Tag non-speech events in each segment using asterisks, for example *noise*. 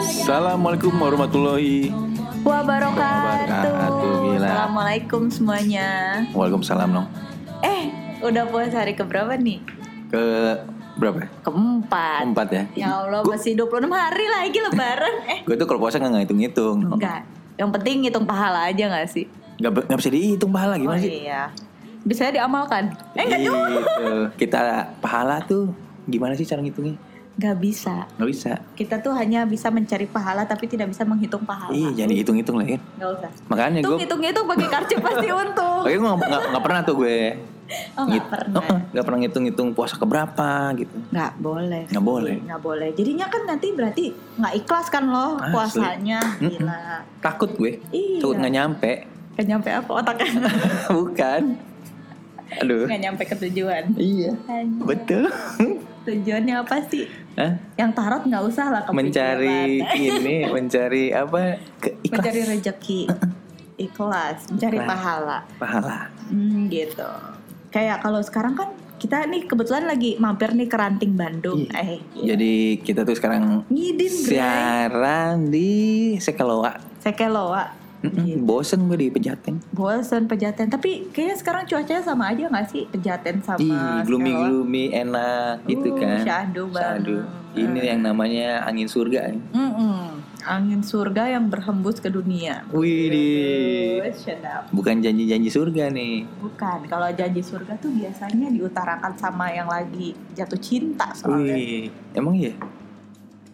Assalamualaikum warahmatullahi Wabarakatuh. Wabarakatuh, gila. Assalamualaikum semuanya. Waalaikumsalam Nong Eh, udah puasa hari keberapa nih? Ke berapa ya? Keempat. Keempat ya? Ya Allah, Gua- masih 26 hari lagi lebaran. *laughs* eh, Gue tuh kalau puasa gak ngitung-ngitung Nong. enggak. Yang penting ngitung pahala aja gak sih? Nggak be- nggak bisa dihitung pahala gimana oh sih? iya. Bisa diamalkan. Eh, enggak juga. Gitu. Kita pahala tuh gimana sih cara ngitungnya? Enggak bisa. Gak bisa Kita tuh hanya bisa mencari pahala tapi tidak bisa menghitung pahala. Iya jangan dihitung-hitung lah ya Enggak usah. Makanya Tuh gue hitung-hitung pakai kartu pasti untung. Makanya gue gak, pernah tuh gue Oh, enggak pernah. Gak pernah ngitung-ngitung puasa keberapa gitu Nggak boleh. Nggak boleh. Nggak boleh. Jadinya kan nanti berarti nggak ikhlas kan loh Asli. puasanya. Mm-mm. Gila. Takut gue Iya. Takut gak nyampe *laughs* Nggak nyampe apa otaknya? Bukan Aduh Nggak nyampe ke tujuan. Iya Hanya- Betul *laughs* Tujuannya apa sih? Hah? Yang tarot nggak usah lah kepikiran. *laughs* mencari ini mencari apa ke ikhlas mencari rejeki, ikhlas, mencari Ikhlas. pahala. pahala Hmm, gitu. Kayak kalau sekarang kan kita nih kebetulan lagi mampir nih ke Ranting Bandung. Iya. Eh, jadi kita tuh sekarang ngidin gue. siaran di sekeloa Sekeloa. Gitu. Iya. Mm-mm, bosen gue di pejaten bosan pejaten tapi kayaknya sekarang cuacanya sama aja nggak sih pejaten sama Ih, gloomy Selawa? gloomy enak gitu Uh, kan syahdu banget. Iya. Syahdu. ini yang namanya angin surga Mm-mm. angin surga yang berhembus ke dunia wih Aduh, shut up. bukan janji-janji surga nih bukan kalau janji surga tuh biasanya diutarakan sama yang lagi jatuh cinta soalnya wih emang iya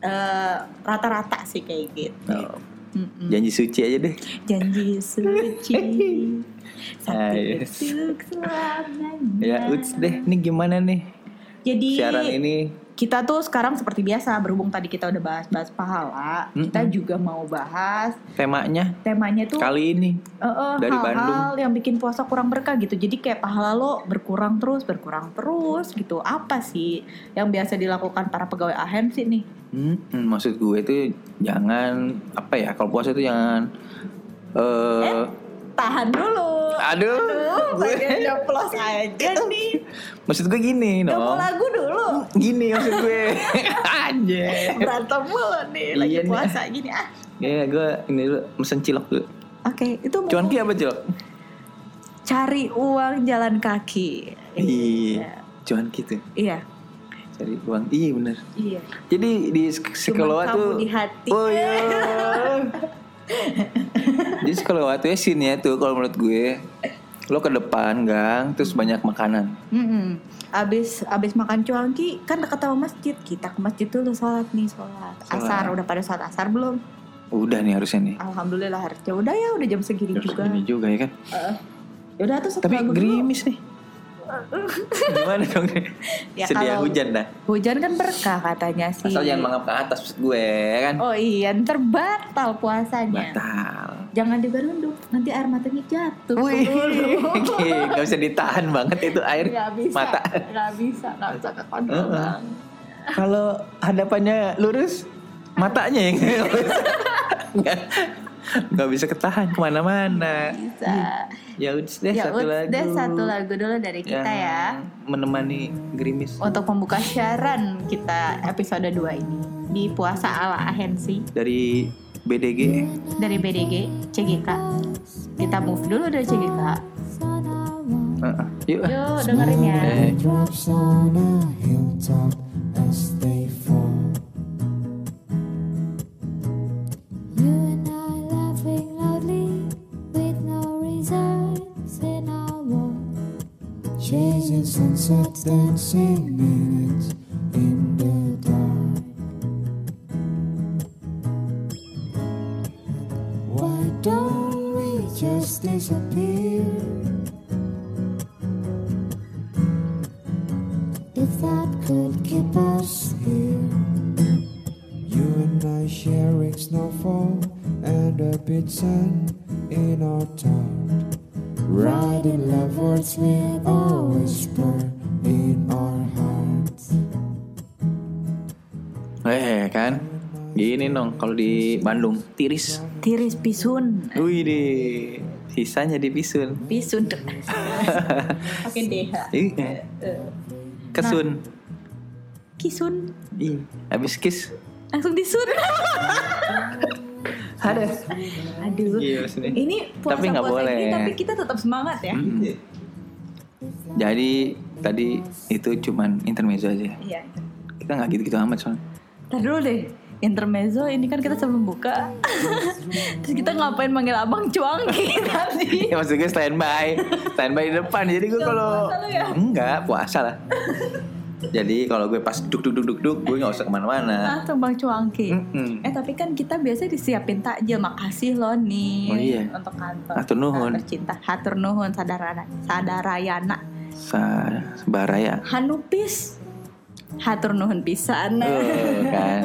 Eh, rata-rata sih kayak gitu Oh, Mm-mm. janji suci aja deh janji *laughs* suci satu Ah, yes. untuk selamanya ya uts deh ini gimana nih jadi siaran ini kita tuh sekarang seperti biasa berhubung tadi kita udah bahas-bahas pahala, Mm-mm. kita juga mau bahas temanya temanya tuh kali ini eh, eh, dari hal-hal yang bikin puasa kurang berkah gitu. Jadi kayak pahala lo berkurang terus, berkurang terus gitu. Apa sih yang biasa dilakukan para pegawai AHM sih nih? Hmm, hmm, maksud gue itu jangan apa ya kalau puasa itu jangan eh Tahan dulu. aduh, Aduh, gue Iya Gitu. bagian *laughs* nyeplos aja nih. maksud gue gini Kamu dong lagu dulu. gini maksud gue *laughs* aja Berantem mulu nih lagi Iya nih. puasa gini ah. ya gue ini dulu mesen cilok dulu Oke, itu mau cuan ki apa cilok cari uang jalan kaki. iya cuan ki tuh Iya. cari uang iya bener Iya. jadi di Cuma sekolah kamu tuh di hati. oh *laughs* iya jadi sekolah tuh ya scene-nya tuh kalau menurut gue lo ke depan gang terus banyak makanan Mm-mm. Abis abis makan cuanki kan dekat sama masjid kita ke masjid dulu sholat nih sholat. Sholat. Asar udah pada sholat asar belum? udah nih harusnya nih Alhamdulillah harusnya udah ya udah jam segini Terus juga. Ini juga ya kan. Ya udah tuh satu Tapi lagu dulu. gerimis *laughs* nih. Gimana dong? nih? Ya, Sedia kalau- hujan dah. Hujan kan berkah katanya sih. Asal jangan mangap ke atas maksud gue ya kan. Oh iya ntar batal puasanya. Batal. Jangan digerunduk nanti air matanya jatuh. Wih, *laughs* Turun. gak bisa ditahan banget itu air Nggak bisa, mata. nggak bisa, nggak bisa kekontrol Heeh. Hmm. Bang. Kalau hadapannya lurus, matanya yang *laughs* lurus. Nggak- nggak bisa ketahan kemana-mana. Bisa. Ya udah deh ya satu udah lagu. satu lagu dulu dari yang kita ya. Menemani gerimis untuk membuka siaran kita episode 2 ini di puasa ala ahensi dari BDG. dari BDG CGK kita move dulu dari CGK Heeh. Yuk. yuk dengerin ya Eh. Drops on a hilltop as they fall. Sunsets dancing minutes in the dark. Why don't we just disappear? If that could keep us here. You and I sharing snowfall and a bit sun in our talk. Riding lovers with a whisper in our hearts. Eh kan Gini dong kalau di Bandung Tiris Tiris pisun. Wih deh Sisanya di pisun Pisun. Pakai DH. Ih, eh, Nah. Kesun Kisun. Ih, Habis kiss Langsung *laughs* disun. Ada Aduh. Iya, maksudnya. Ini puasa Tapi nggak puasa boleh. Hmm. ini tapi kita tetap semangat ya. Jadi tadi itu cuman intermezzo aja Iya. Kita nggak gitu-gitu amat soalnya *laughs* Ntar dulu deh. Intermezzo ini kan kita sebelum *laughs* buka. Terus kita ngapain manggil abang cuangki *laughs* *laughs* tadi? Ya maksud gue standby Standby di depan Jadi gue Nggak kalau puasa lu ya? Enggak puasa lah Jadi kalau gue pas duk duk duk duk duk Gue nggak usah kemana-mana Langsung Bang Ah, Cuangki. Mm-mm. Eh tapi kan kita biasa disiapin takjil. Makasih loh nih Oh, iya. untuk kantor. Hatur nuhun. Kantor cinta. Hatur nuhun sadarana sadarayana. Sa- ya? Sebaraya Hanupis. Hatur nuhun pisan. Eh, kan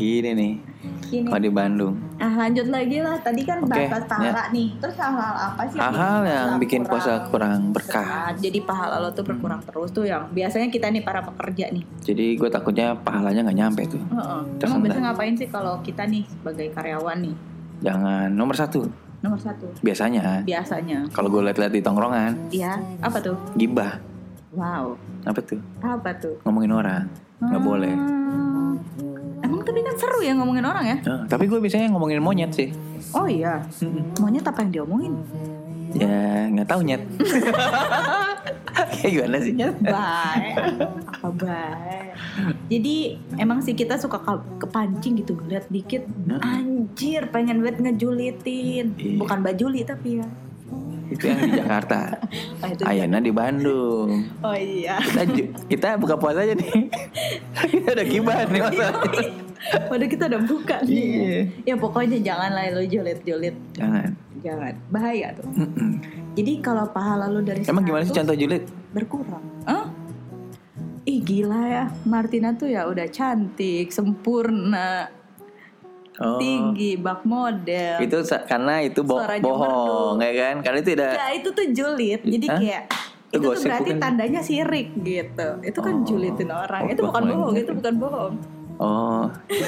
Gini nih *laughs* Gini. Kalau di Bandung Ah lanjut lagi lah. Tadi kan Oke, ya. bahas pahala nih. Terus hal-hal apa sih? yang Hal-hal bikin yang puasa bikin puasa kurang berkah. Hmm. Jadi pahala lo tuh berkurang terus tuh yang biasanya kita nih para pekerja nih. Jadi gue takutnya pahalanya nggak nyampe tuh Heeh. Terus Emang apa? biasa ngapain sih kalau kita nih sebagai karyawan nih? Jangan nomor satu Nomor satu Biasanya biasanya Kalau gue liat-liat di tongkrongan Iya, apa tuh? Gibah Wow, Apa tuh apa tuh? Ngomongin orang Nggak Hmm. boleh Emang tapi kan seru ya ngomongin orang ya? Eh, Tapi gue biasanya ngomongin monyet sih Oh *laughs* iya. Monyet apa yang diomongin? Ya nggak tahu nyet Kayak gimana sih nyet *laughs* Baik. apa baik. Jadi emang sih kita suka ke- kepancing gitu lihat dikit Mm-mm. anjir pengen banget ngejulitin. Iya. Bukan bajuli tapi ya. Itu yang di Jakarta Oh, itu- Ayana di Bandung oh iya. *laughs* Kita, ju- kita buka puasa aja nih *laughs* Kita udah gibah nih masalahnya Oh, iya. Padahal kita udah buka Iya. nih. Ya pokoknya jangan lah lo jolit-jolit. Jangan Jangan. Bahaya tuh. Mm-mm. Jadi kalau pahala lu dari Emang gimana sih 100, contoh julid? berkurang. Hah? Ih gila ya, Martina tuh ya udah cantik, sempurna, Oh, tinggi, bak model. Itu sa- karena itu bo- Suaranya bohong, ya kan? Karena itu tidak Ya itu tuh julid, jadi Hah? kayak Itu itu tuh gosip berarti bukan? tandanya sirik gitu. Itu kan Oh. julitin orang. Oh, itu bukan bak bohong, model. itu bukan bohong. Oh,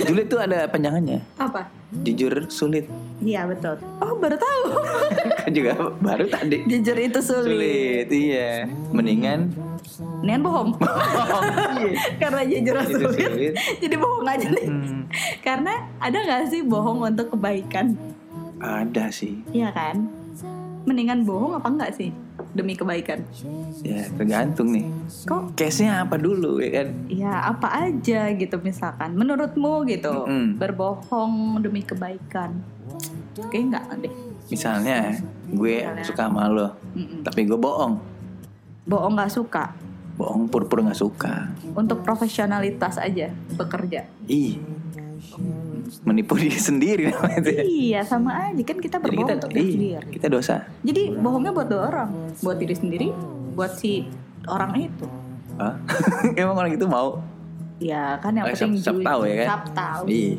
julid tuh ada panjangannya. Apa? Jujur sulit. *laughs* Iya betul. Oh baru tahu. Kan juga baru tadi. Jujur itu sulit. Sulit, iya. Mendingan Nian *laughs* bohong. bohong. Iya. Karena jujur Itu sulit. sulit. *laughs* jadi bohong aja nih. Hmm, Karena ada nggak sih bohong untuk kebaikan? ada sih. Iya kan? Mendingan bohong apa enggak sih? Demi kebaikan. Ya, tergantung nih. Kok Case-nya apa dulu ya kan? ya apa aja gitu misalkan. Menurutmu gitu. Mm-mm. Berbohong demi kebaikan. Kayaknya enggak deh. Misalnya gue Misalnya. suka sama lo, Mm-mm. tapi gue bohong. Bohong nggak suka. Bohong pur-pur nggak suka. Untuk profesionalitas aja bekerja. Ih. Menipu *laughs* diri sendiri namanya itu ya. Iya sama aja kan kita Jadi berbohong kita, untuk diri iya, sendiri. kita dosa. Jadi bohongnya buat dua orang, buat diri sendiri, buat si orang itu. Hah? *laughs* Emang orang itu mau? Ya kan yang Eh, penting siap- siap jujur. tahu ya kan? Siap tahu. Iya.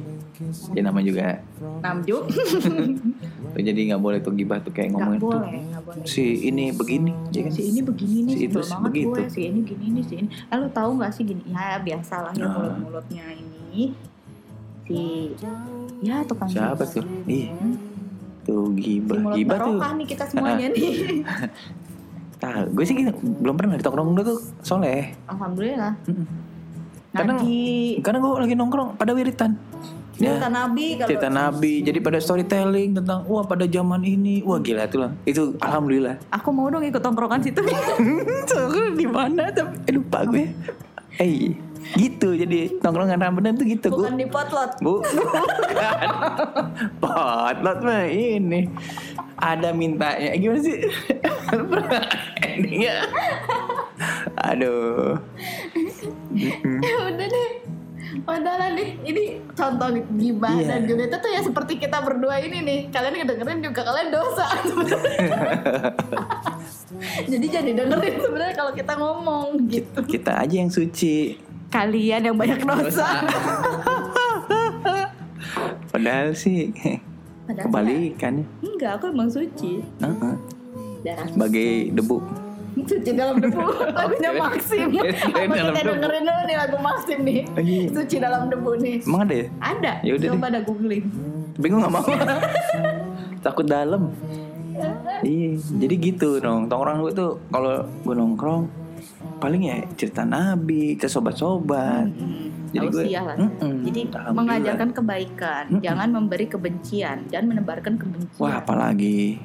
Ya nama juga. *laughs* Namju. Tuh, Jadi nggak boleh tuh gibah tuh kayak ngomongin Nggak tuh boleh, nggak boleh. Iya, si ini begini, ya kan? si ini begini nih Si sebel itu banget begitu. gue si ini gini nih si ini eh lu tahu nggak sih gini ya biasalah ya Nah. mulut mulutnya ini si ya tukang Siapa gibah. tuh? Ih. Tuh si gibah. mulut gibah tuh. barokah nih kita semuanya *laughs* nih Tah, gue sih gitu- belum pernah di tongkrong dulu tuh soleh. alhamdulillah Mm-mm. Kadang- ngaji Karena gue lagi nongkrong pada wiritan. Ya, cerita nabi Iya, kalau cerita nabi jadi pada storytelling tentang wah pada zaman ini wah gila itu lah itu alhamdulillah *laughs* aku mau dong ikut tongkrongan *laughs* situ soalnya di mana tapi eh, lupa gue eh gitu jadi nongkrongan rambutan tuh gitu bukan gue di potlot bu *laughs* bukan potlot mah ini ada mintanya gimana sih Pernah endingnya Aduh. Ya udah deh. Padahal nih, *laughs* ini contoh gibah Iya. dan juga itu tuh ya seperti kita berdua ini nih. Kalian ngedengerin juga kalian *laughs* dosa sebenarnya. Jadi jadi dengerin sebenarnya kalau kita ngomong gitu. Kita aja yang suci. Kalian yang banyak dosa. Padahal sih Padahal kebalikan. Enggak, aku emang suci. Heeh. Darah Sebagai debu. suci dalam debu. *laughs* Lagunya Oke. Maxim. Oke, Apa dalam kita debu. dengerin dulu nih lagu Maxim nih. Iya. Suci dalam debu nih. Emang ada ya? Ada. Ya udah Coba ada googling. Bingung gak mau. Takut dalam. Iya, jadi gitu dong. Tongkrong gue tuh kalau gue nongkrong paling ya cerita nabi, ke sobat-sobat. Tausiah lah. Mm-mm. Jadi Alhamdulillah. mengajarkan kebaikan, jangan memberi kebencian, jangan menebarkan kebencian. Wah, apalagi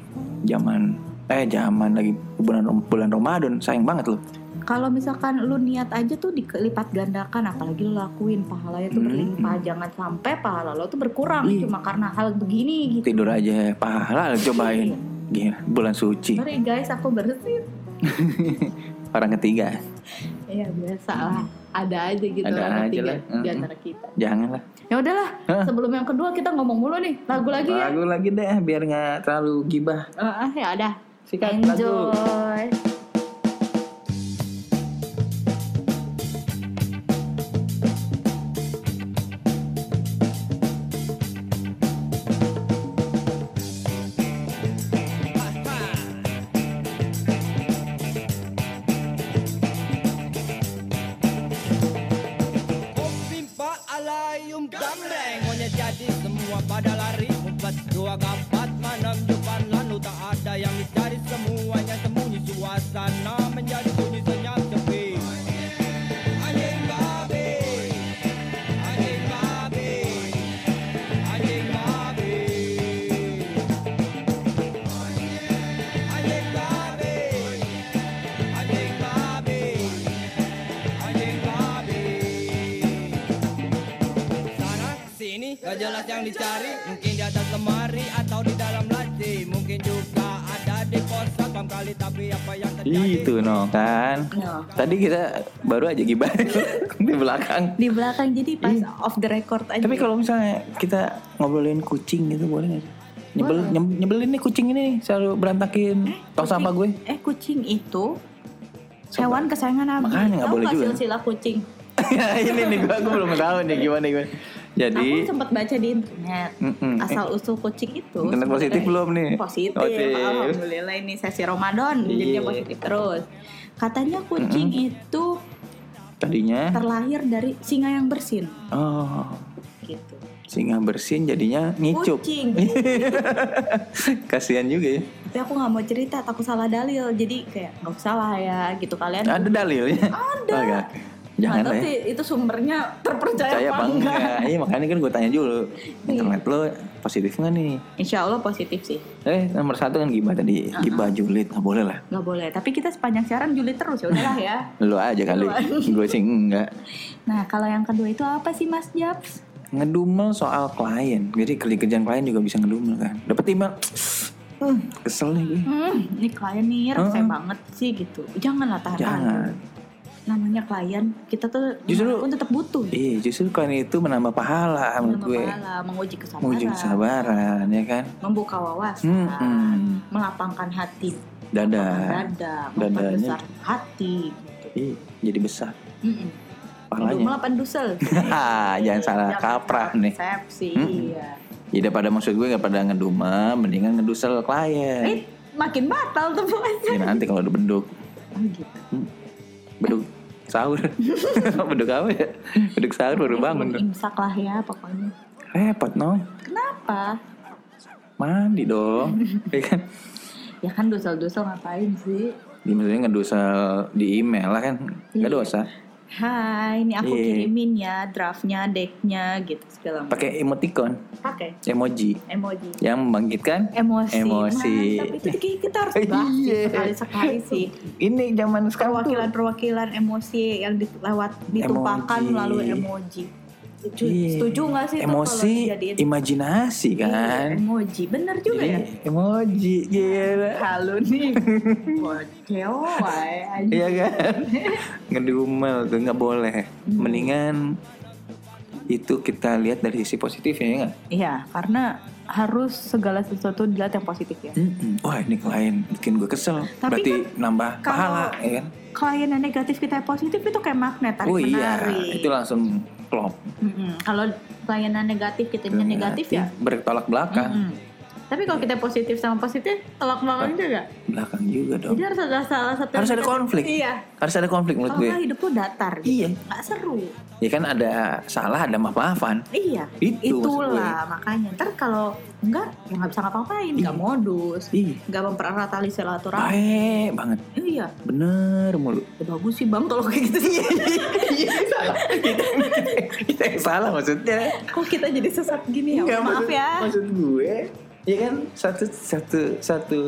zaman eh zaman lagi bulan bulan Ramadan, sayang banget loh. Kalau misalkan lu niat aja tuh dilipat gandakan, apalagi lu lakuin pahalanya tuh Hmm. berlimpah, jangan sampai pahala lo tuh berkurang Iya. cuma karena hal begini gitu. Tidur aja pahala *laughs* lu cobain. Gila, bulan suci. Sorry ya guys, aku bersin. *laughs* Orang ketiga. Ya biasa lah, ada aja gitu Ada orang aja ketiga lah. di Mm-mm. antara kita. Janganlah. Ya udahlah, Hah? sebelum yang kedua kita ngomong mulu nih lagu lagi ya. Lagu lagi deh biar nggak terlalu gibah. Ah, ya udah. Sikat lagu. Enjoy. Pimpa alayum gamreng Hanya jadi semua pada lari Empat dua kapat manam depan lanu Tak ada yang dicari semuanya sembunyi Suasana menjadi sunyi senyap sepi Anjing babi Anjing babi Anjing babi Anjing babi Anjing babi Anjing babi sana sini gak jelas yang dicari mungkin di atas lemari atau di dalam laci mungkin juga ada di pos satpam kali tapi apa yang terjadi Itu no kan. Nah. Tadi kita baru aja gibah *laughs* di belakang. Di belakang jadi pas off the record aja. Tapi kalau misalnya kita ngobrolin kucing gitu boleh nggak? sih? Nyebel, nyem- nyebelin nih kucing ini nih selalu berantakin tong Kucing- sampah gue. Eh kucing itu Sobat. hewan kesayangan Nabi. Makanya nggak Tahu boleh nggak juga. silsilah kucing. *laughs* Ya, ini nih gue, gue belum tahu nih gimana gimana. Jadi Aku sempat baca di internet Mm-mm. asal usul kucing itu. Internet sebenarnya- positif belum nih? Positif. Positif. Alhamdulillah ini sesi Ramadan jadinya Iya. positif terus. Katanya kucing itu tadinya terlahir dari singa yang bersin oh gitu. singa bersin jadinya ngicup. Kucing. *laughs* Kasihan juga ya. Tapi aku nggak mau cerita takut salah dalil. Jadi kayak nggak usah lah ya gitu kalian. Ada dalilnya. Ada. Jangan lah Nggak tahu ya. sih itu sumbernya terpercaya Percaya apa enggak. Iya. Iya makanya kan gue tanya dulu internet lo positif nggak nih? Insya Allah positif sih. Eh nomor satu kan gibah tadi gibah julid nggak boleh lah. nggak boleh tapi kita sepanjang siaran julid terus ya udahlah *laughs* ya Lo aja kali. *laughs* gue sih enggak. nah kalau yang kedua itu apa sih Mas Japs ngedumel soal klien jadi kerja kerjaan klien juga bisa ngedumel kan dapat email hmm, kesel nih gue. hmm, ini klien nih resep Heeh. banget sih gitu janganlah tahan jangan namanya klien kita tuh Justru- gimana pun tetap butuh iya justru klien itu menambah pahala menurut Menambah gue pahala, menguji kesabaran menguji kesabaran ya kan membuka wawasan Hmm, hmm. melapangkan hati dada melapangkan dada Dadanya. memperbesar hati Ih, gitu. jadi besar Mm-mm. pahalanya Melapan dusel *laughs* Jangan salah kaprah nih. Hmm, Persepsi Mm-mm. iya. jadi pada maksud gue nggak pada ngedumel mendingan ngedusel klien Eh, makin batal tuh puasa. ya nanti kalau udah beduk *laughs* Oh gitu. beduk sahur *laughs* beduk apa ya beduk sahur baru bangun tuh. Imsak lah ya pokoknya. repot no Kenapa? mandi dong *laughs* ya kan Ya kan dosel-dosel ngapain sih? Ya, maksudnya ngedosa di email lah kan nggak Iya. dosa Hai, ini aku Iya. kirimin ya draftnya, decknya gitu segala macam. pakai emoticon Pakai emoji emoji. yang membangkitkan Emosi. Emosi. Mantap. Itu kayak kita harus bahas *laughs* sih Iya. sekali-sekali sih. ini zaman sekarang tuh Perwakilan-perwakilan emosi yang dilewat ditumpahkan Emoji. melalui emoji. setuju Iya. setuju nggak sih itu Emosi, kalau dijadiin? imajinasi kan. Iya. Iya, emoji bener juga Jadi ya emoji gila. halo *laughs* nih bocil Iya kan? *laughs* Ngedumel tuh nggak boleh. Hmm. Mendingan itu kita lihat dari sisi positif ya nggak? iya karena harus segala sesuatu dilihat yang positif ya Mm-mm. Wah ini klien bikin gue kesel. Tapi Berarti kan nambah kalau- pahala ya kan? klien yang negatif kita yang positif itu kayak magnet tarik Oh iya, menarik itu langsung klop. Mm-mm. kalau klien yang negatif kita yang negatif ya Bertolak belakang, Mm-mm. tapi kalau kita positif sama positif telak belakang juga belakang juga dong. jadi harus ada salah satu Harus ada konflik. iya Harus ada konflik menurut kalau gue. nggak hidup lu datar gitu. Iya. nggak seru Ya kan ada salah, ada maaf-maafan. Iya, Itu itulah makanya. Ntar kalau enggak, ya nggak bisa ngapa-ngapain, Iya. nggak modus, Ih, nggak mempererat tali silaturahmi. baik banget. Iya, Bener mulu. *laughs* ya bagus sih bang kalau kayak gitu. Iya, Kita yang salah maksudnya. Kok kita jadi sesat gini ya? Enggak, Maaf maksud- ya. Maksud gue, ya kan satu satu satu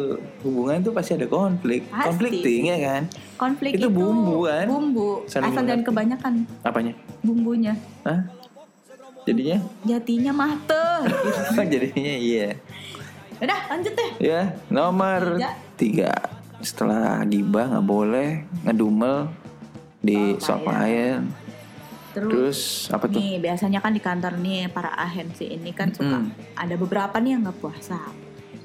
hubungan itu pasti ada konflik, Pasti. conflicting ya kan? Konflik Itu itu, bumbu kan? Bumbu. Saling Asal jangan mengerti. kebanyakan Apanya? bumbunya. Hah? Jadinya? Jatinya mah teh. *laughs* Jadinya iya. Udah, lanjut deh. Ya nomor tiga. Tiga. Setelah gibah nggak boleh ngedumel di soal Soal klien. Terus, Terus apa tuh? Nih biasanya kan di kantor nih para ahensi ini kan suka Mm. ada beberapa nih yang nggak puasa,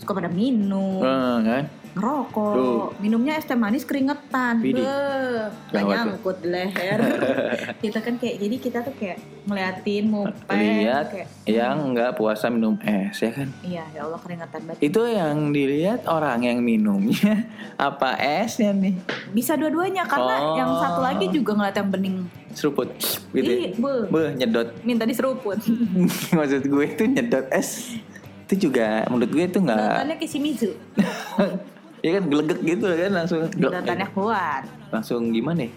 suka pada minum, Eh, kan? ngerokok, Tuh. minumnya es teh manis keringetan, Widih. beuh, Gawat gak tuh. nyangkut di *laughs* leher. kita kan kayak jadi kita tuh kayak ngeliatin mupeng, Lihat kayak hmm. yang nggak puasa minum es ya kan? iya ya Allah keringetan banget. Itu yang dilihat orang yang minumnya *laughs* apa esnya nih? Bisa dua-duanya karena Oh. yang satu lagi juga ngeliat yang bening. Seruput gitu. ya. Ih, beuh, Beuh, nyedot. *laughs* minta diseruput. Iya. Maksud gue itu nyedot es. Itu juga menurut gue itu nggak Kelihatannya kisimizu, *laughs* ya kan gelegek gitu kan langsung glek. kelihatannya kuat. langsung gimana ya?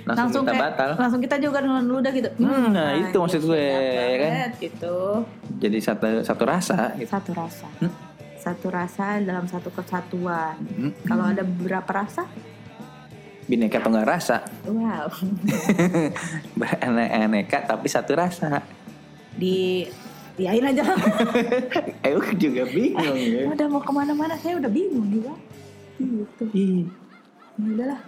Langsung, kita kayak- batal. Langsung kita juga dengan ludah gitu. Hmm, nah, itu maksud gue, sedap ya kan? banget, Gitu. Jadi satu satu rasa gitu. Satu rasa. Hmm. Satu rasa dalam satu kesatuan. Hmm. Kalau ada beberapa rasa, Bineka tunggal rasa, *laughs* wow. beraneka-aneka tapi satu rasa. Di diain aja. Eh, gue juga bingung ya. *laughs* udah mau kemana-mana saya udah bingung juga. Gitu. Ih, Ya udahlah.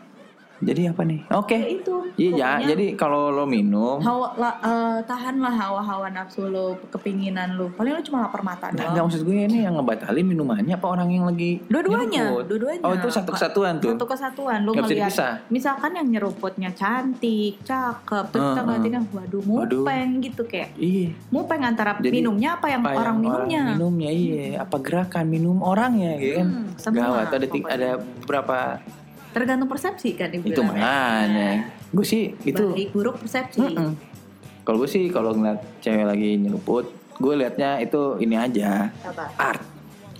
Jadi apa nih? Ya Oke. itu. Iya, ya, Pokoknya jadi kalau lo minum, hawa la- eh, tahanlah hawa-hawa nafsu lo, kepinginan lo. Paling lo cuma lapar mata Nah, doang. enggak maksud gue ini yang ngebatalin minumannya apa orang yang lagi Dua-duanya, nyeruput? dua-duanya. Oh, itu satu kesatuan tuh. Satu kesatuan lo Nggak bisa ngeliat dipisah. misalkan yang nyeruputnya cantik, cakep, terus kita Heeh. ngeliatin yang waduh Waduh. mupeng gitu kayak Iya. mupeng antara Jadi, minumnya apa yang Apa yang orang minumnya. Orang minumnya iya, apa gerakan minum orangnya gitu kan. Hmm, semua Gawat, ada ti- pokoknya. ada berapa Tergantung persepsi kan ibu. itu makanya. Gue sih itu Itu baik buruk persepsi. Gitu Mm-mm. Kalau gue sih kalau ngeliat cewek lagi nyeruput, gue liatnya itu ini aja Apa? art.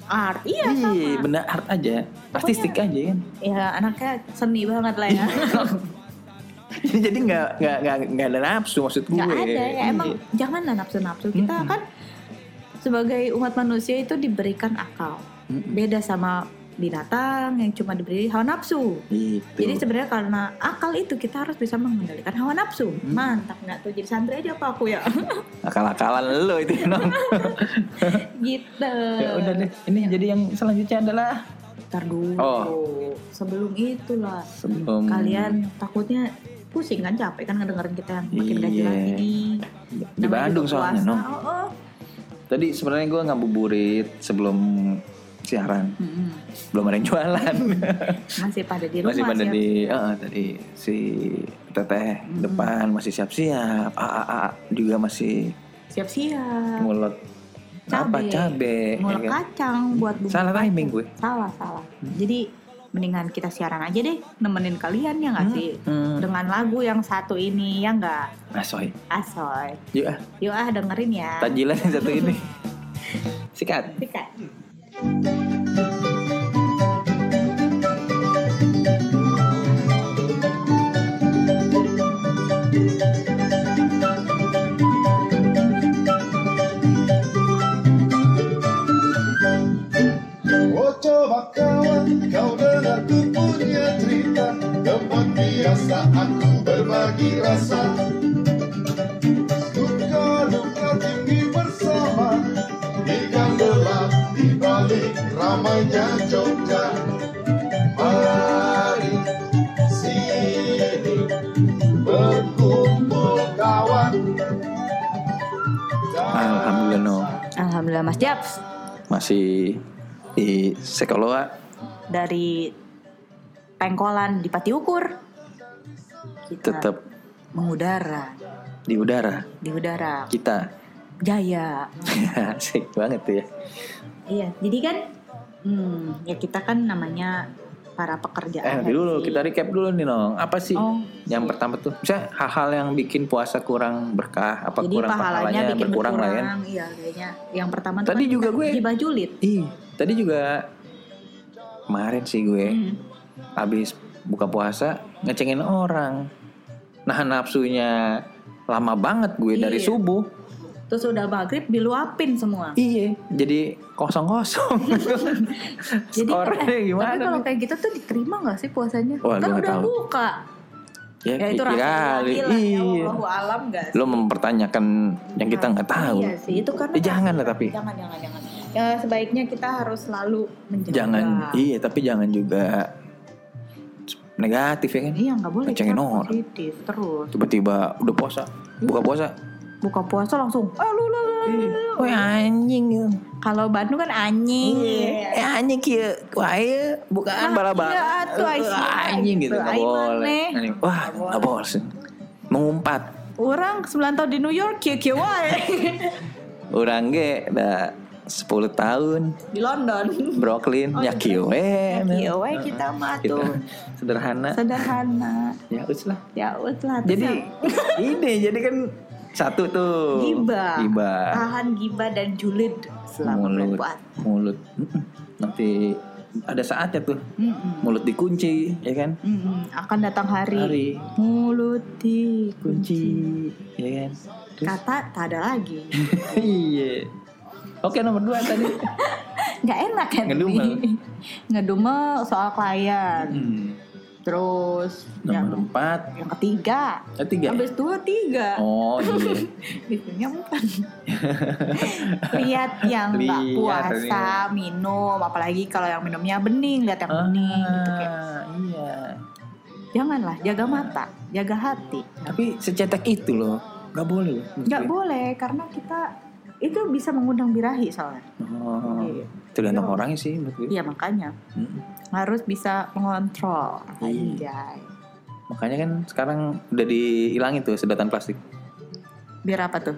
Art. Iya sama. Iya, benda art aja, artistik aja kan. Ya anaknya seni banget lah Iya, ya. *laughs* Jadi nggak nggak nggak nggak ada nafsu maksud gue. Gak ada ya emang Iya. janganlah nafsu-nafsu. Kita Mm-mm. kan sebagai umat manusia itu diberikan akal. Mm-mm. Beda sama binatang yang cuma diberi hawa nafsu. Gitu. Jadi sebenarnya karena akal itu kita harus bisa mengendalikan hawa nafsu. Mantap nggak tuh jadi santri aja apa aku ya? *laughs* akal-akalan lo itu nong. gitu. ya udah deh. Ini jadi yang selanjutnya adalah Ntar dulu. Oh. Sebelum itulah sebelum kalian takutnya pusing kan capek kan ngedengerin kita yang makin gaji Iya. lagi nih. di Namanya Bandung juga soalnya puasa. nong. Oh, oh. Tadi sebenarnya gue ngabuburit sebelum siaran, Mm-mm. belum ada yang jualan. Masih pada di rumah Hmm. *laughs* masih pada siap- Hmm. di eh, tadi si teteh depan masih siap-siap, aa juga masih siap-siap. ngulek apa Nah. Cabe. cabe, ya Ngulek kan? kacang buat bumbu Salah Hmm. kacang. timing gue. Salah, salah. Jadi mendingan kita siaran aja deh nemenin kalian ya nggak sih? Hmm. Dengan lagu yang satu ini ya nggak Nah, soy. asoy. Yuk ah, Yuk ah dengerin ya. tajilan yang satu ini. Sikat. Sikat. Oh coba kawan, kau dengar ku punya cerita Tempat biasa aku berbagi rasa Ku kau Alhamdulillah Mas Japs Masih di Sekoloa dari pengkolan di Pati Ukur. Kita tetap mengudara di udara di udara kita. *laughs* jaya. Asik banget tuh ya. Iya, jadi kan hmm, ya kita kan namanya para pekerja. Eh agensi. dulu kita recap dulu nih Nong. Apa sih Oh, yang pertama tuh? Misalnya hal-hal yang bikin puasa kurang berkah apa jadi kurang pahalanya bikin berkurang lah berkurang, ya. Iya, kayaknya yang pertama tuh Tadi kan juga kita gue- hibah julid. Ih, tadi juga kemarin sih gue Hmm. habis buka puasa ngecengin orang. Nahan nafsunya lama banget gue dari Iya. subuh. Terus udah maghrib diluapin semua. Iya, jadi *laughs* kosong-kosong. Jadi Skornya eh, gimana? Tapi kalau nih? kayak gitu tuh diterima gak sih puasanya? Wah, kan gua nggak udah tahu. buka. ya, Ya itu kira kali. rasanya gila. Iya. Ya Allahu alam gak sih? Lo mempertanyakan yang kita nggak tahu. Iya sih, itu karena Eh, jangan lah tapi. Jangan, jangan, jangan. Ya, sebaiknya kita harus selalu menjaga. Jangan, iya tapi jangan juga negatif ya kan. Iya, nggak boleh. Ngecengin kita orang. Positif terus. Tiba-tiba udah puasa, buka puasa. Buka puasa langsung. Eh, lu, lu, lu, lu, lu. Wah anjing gitu. Kalau Bandung kan anjing. Eh anjing kia, wah iya bukaan Ah, bala bala. iya, atuh, ai, sih. anjing gitu nggak Ai, boleh. maneh. Anjing, Wah nggak boleh. sih. Mengumpat. Orang 9 tahun di New York, kia kia wae. Orang ge udah 10 tahun *laughs* di London. Brooklyn ya kieu we. Kia wae kita mah Gitu. tuh. *laughs* Sederhana. Sederhana. Ya us lah. Ya utlah. Jadi ini jadi kan satu tuh. Gibah. Gibah. Tahan gibah dan julid selama mulut. berbuat. Mulut. Mm-mm. Nanti ada saatnya tuh. Mulut dikunci, ya kan? Mm-mm, akan datang hari. Hari Mulut dikunci. kunci, ya kan? Terus- Kata tak ada lagi. *laughs* iya. Oke nomor dua tadi. Nggak enak ya tapi. Ngedumel. Ngedumel soal klien. Hmm. Terus Kan. yang, Nomor empat. yang ketiga. Eh, tiga. ya? Habis dua tiga. Oh *laughs* iya. Bikinnya *laughs* empat. Lihat yang nggak Lihat, puasa minum, apalagi kalau yang minumnya bening, lihat yang Ah, bening gitu kayak. iya. Janganlah jaga mata, jaga hati. Tapi secetek itu loh, nggak boleh loh. Nggak boleh karena kita itu bisa mengundang birahi soalnya. Oh, tergantung orangnya sih menurut gue. Iya makanya Mm. harus bisa mengontrol. Iya. Anjay. Makanya kan sekarang udah dihilangin tuh sedotan plastik. Biar apa tuh?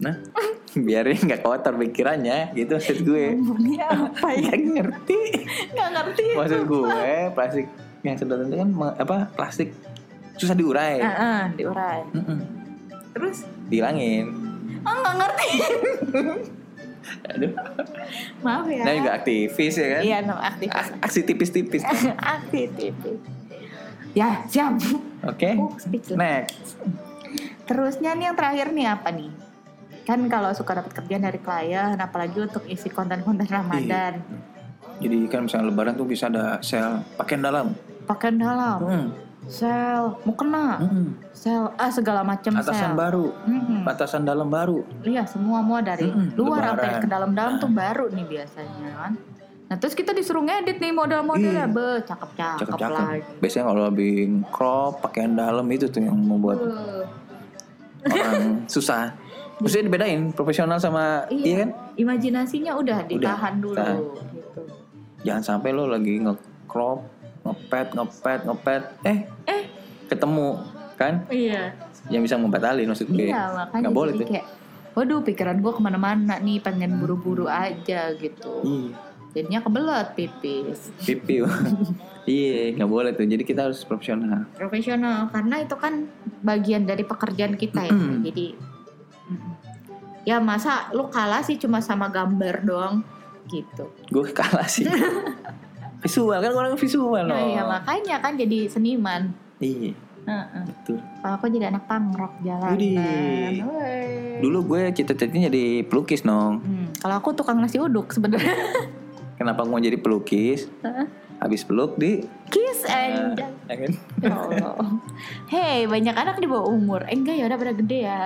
Nah, *laughs* biarin nggak kotor pikirannya, gitu maksud gue. Bunyinya apa *laughs* ya? Nggak ngerti. Nggak ngerti. Maksud gue plastik yang sedotan itu kan me- apa plastik susah diurai. Ah, ah, diurai. Mm-mm. Terus? Dihilangin. Ah nggak ngerti. *laughs* Aduh. Maaf ya. Nah juga aktivis ya kan? Iya, no, *laughs* aktivis. A- Aksi tipis-tipis. Oke. aktivis. Ya siap. Oh, speechless. Eh. Next. Terusnya nih yang terakhir nih apa nih? Kan kalau suka dapat kerjaan dari klien, apalagi untuk isi konten-konten Iya. Ramadan, Jadi kan misalnya lebaran tuh bisa ada sel pakaian dalam. pakaian dalam, Mm. sel, mukena, Mm-mm. sel, ah segala macam Hmm? Atasan sel. baru, Mm-mm. batasan dalam baru. Iya semua semua dari Mm-mm, luar lebaran. sampai ke dalam-dalam tuh baru nih biasanya kan. Nah terus kita disuruh ngedit nih Iya. model-modelnya, be cakep-cakep cakep-cakep. lagi. Biasanya kalau lebih crop, pakaian dalam itu tuh yang membuat Eh, *laughs* orang susah. Maksudnya dibedain profesional sama Iya. iya kan? Imajinasinya udah ditahan dulu. tahan. Gitu. Jangan sampai lo lagi nge-crop, ngepet, ngepet, ngepet, eh Eh. ketemu kan Iya. yang bisa ngebatalin maksud gue. Iya makanya Nggak boleh jadi tuh. kayak Waduh pikiran gue kemana-mana nih pengen buru-buru aja gitu Iya. Jadinya kebelet pipis Pipi. *laughs* Iya, nggak boleh tuh. Jadi kita harus profesional. Profesional karena itu kan bagian dari pekerjaan kita ya Mm-mm. Jadi mm. Ya masa lu kalah sih cuma sama gambar doang gitu Gue kalah *laughs* sih. visual kan orang visual Nah loh. ya makanya kan jadi seniman Iya, Heeh. betul. Kalau aku jadi anak pangrok kan. jalanan Widih. Wey. Dulu gue cita-citanya jadi pelukis, Nong. Hmm, Kalau aku tukang nasi uduk sebenarnya *laughs* Kenapa mau jadi pelukis? Heeh. Habis peluk di Kiss and ya kan? Ya Allah. Hei, banyak anak di bawah umur. Iya. Eh, enggak ya udah pada gede ya.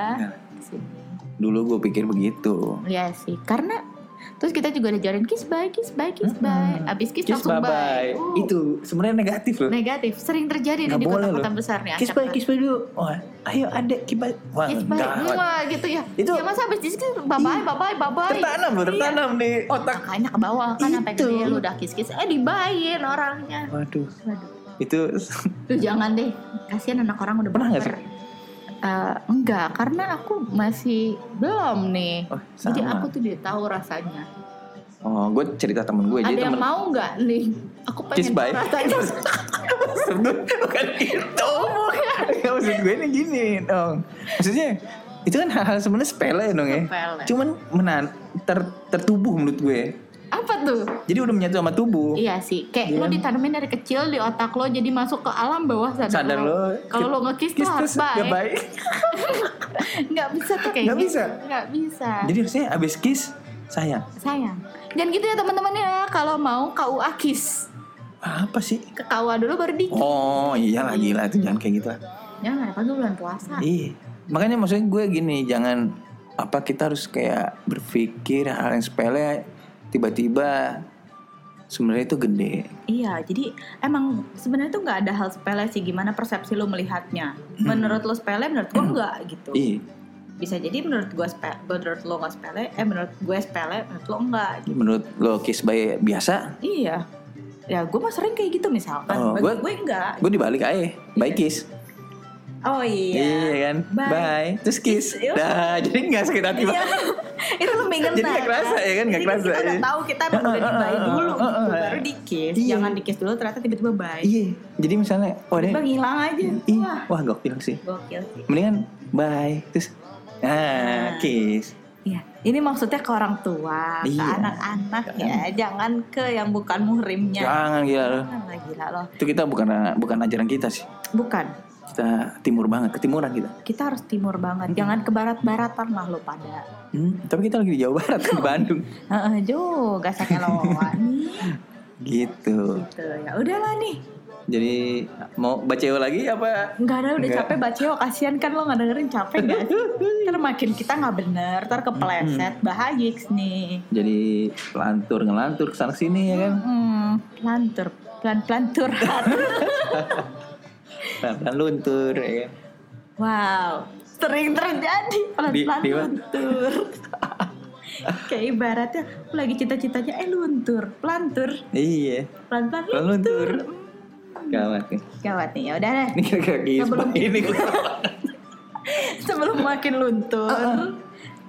Dulu gue pikir begitu. Iya sih, karena Terus kita juga udah jalan kiss bye, kiss bye, kiss bye. Abis kiss, Kiss langsung bye bye. bye. Uh, Itu sebenarnya negatif loh. negatif. Sering terjadi nih Nggak di boleh kota-kota loh. besar nih. Kiss acara. bye, kiss bye dulu. Wah, ayo adek kiss bye. Wah, Kiss bye. enggak. Wah, gitu ya. Itu- ya masa abis kiss bye bye, bye bye, bye bye. Tertanam loh, Iya. tertanam di otak. Gitu. Makanya ke bawah kan apa yang Itu. gede, lu udah kiss-kiss eh dibayin orangnya. Waduh, Waduh. itu *laughs* Lu jangan deh, kasihan anak orang udah Pernah nggak baper. Eh, enggak, karena aku masih belum nih. oh, Jadi aku sama. tuh dia tahu rasanya. Oh, gue cerita temen gue. Jadi Ada yang temen mau nggak nih? Aku Kiss pengen bye. tahu *laughs* rasanya. Sebelum bukan *laughs* itu. Ya, maksud gue ini gini, dong. Maksudnya itu kan hal-hal sebenarnya sepele dong ya. Sepele. Cuman menan ter- tertubuh menurut gue. Apa tuh? Jadi udah menyatu sama tubuh. Iya sih, kayak Iya. lo ditanamin dari kecil di otak lo jadi masuk ke alam bawah sadar, Sadar lo. Kalau lo ngekiss tuh ya? Iya. Kiss harus terus udah bye. baik. Nggak bisa tuh kayak Nggak gitu. bisa. Nggak bisa. Jadi harusnya abis kiss sayang. Sayang. Jangan gitu ya teman-teman ya. Kalau mau KUA kiss. Apa sih? Ke KUA dulu baru Ya, di Oh iya lah gila itu jangan kayak gitu lah. Jangan, apalagi bulan puasa. Ih, makanya maksudnya gue gini, jangan apa kita harus kayak berpikir hal yang sepele tiba-tiba sebenarnya itu gede. Iya, jadi emang sebenarnya tuh nggak ada hal sepele sih gimana persepsi lo melihatnya. Hmm. Menurut lo sepele, menurut gue enggak gitu. Ih, Bisa jadi menurut gue sepele, menurut lo nggak sepele, eh menurut gue sepele, menurut lo enggak. menurut lo kiss by biasa, Iya. Ya gue mah sering kayak gitu misalkan. Oh, Bagi gue- gue, enggak. gue dibalik aja, by kiss. Oh Iya iya. kan? Bye. Bye. Terus kiss. Kiss, yuk. Dah, jadi nggak sakit hati Iya. *laughs* banget. itu lebih ngena Jadi nggak kerasa ya kan, nggak Jadi kerasa, kita udah iya. tahu kita emang udah dibayi dulu Heeh, gitu, heeh. baru dikis Iya. jangan dikis dulu ternyata tiba-tiba bayi Iya, jadi misalnya, oh ini, tiba hilang aja ih, wah wah gokil sih. gokil sih Mendingan bye, terus Nah. ah kiss. Iya, ini maksudnya ke orang tua, ke Iya. Iya. anak-anak ya, jangan ke yang bukan muhrimnya. Jangan gila lo. Jangan lah, gila loh. Itu kita bukan bukan ajaran kita sih. Bukan, Kita timur banget, ketimuran kita. kita harus timur Iya. banget, jangan ke barat-baratan lah lo pada. Hmm, tapi kita lagi di Jawa Barat di Bandung. Heeh, juga sakeloan Gitu. gitu. Ya udahlah nih. Jadi mau baceo lagi apa? Enggak ada udah Nggak. capek baceo kasihan kan lo nggak dengerin capek gak sih? Ntar makin kita nggak bener, ntar kepleset, bahaya nih. Jadi lantur ngelantur kesana sini ya kan? Hmm, lantur, pelan-pelan curhat. Pelan Nah, pelan luntur ya kan? Wow, sering terjadi pelan-pelan Di- di mana? *laughs* luntur. Kayak ibaratnya lu lagi cita-citanya eh luntur, pelantur, Iya, pelan-pelan pelan luntur. luntur. Gawat nih. Gawat nih, ya udah deh. Ini kira-kira gizmo Sebelum- ini. *laughs* Sebelum makin Ah, luntur,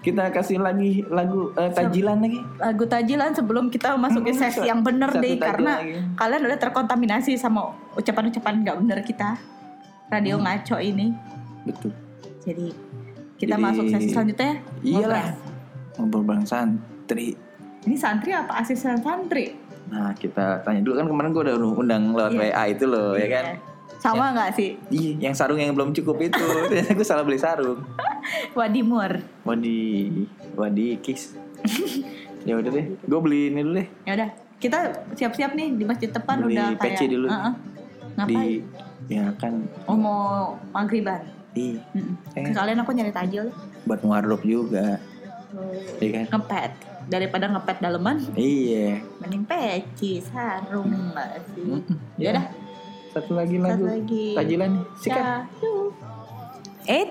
Kita kasih lagi lagu eh, tajilan lagi. lagu tajilan sebelum kita masukin Mm, sesi satu- yang bener satu deh tajilan karena lagi. kalian udah terkontaminasi sama ucapan-ucapan nggak bener kita. Hmm. Radio ngaco ini. Betul. Jadi kita Jadi- masuk sesi selanjutnya. ya. Iyalah. Ngobrol bareng santri. Ini santri apa asisten santri? Nah kita tanya dulu kan kemarin gue udah undang lewat Iya. WA itu loh ya kan? Sama nggak sih? Iya, yang sarung yang belum cukup *laughs* itu. Ternyata gue salah beli sarung. Wadimur. Mau di mau di *laughs* kiss. ya udah deh, gue beli ini dulu deh Ya udah, kita siap-siap nih di masjid depan Beli udah peci kayak. dulu. Heeh. di Ngapain? ya kan Oh mau magriban. di Mm-mm. Eh. Sekalian aku nyari tajil buat wardrobe juga. Oh. Iya kan? ngepet daripada ngepet daleman Iya. mending peci sarung nggak sih. Mm-mm. Ya udah, Satu lagi satu lagu. lagi. Tajilan sikat. Syahdu. Eh,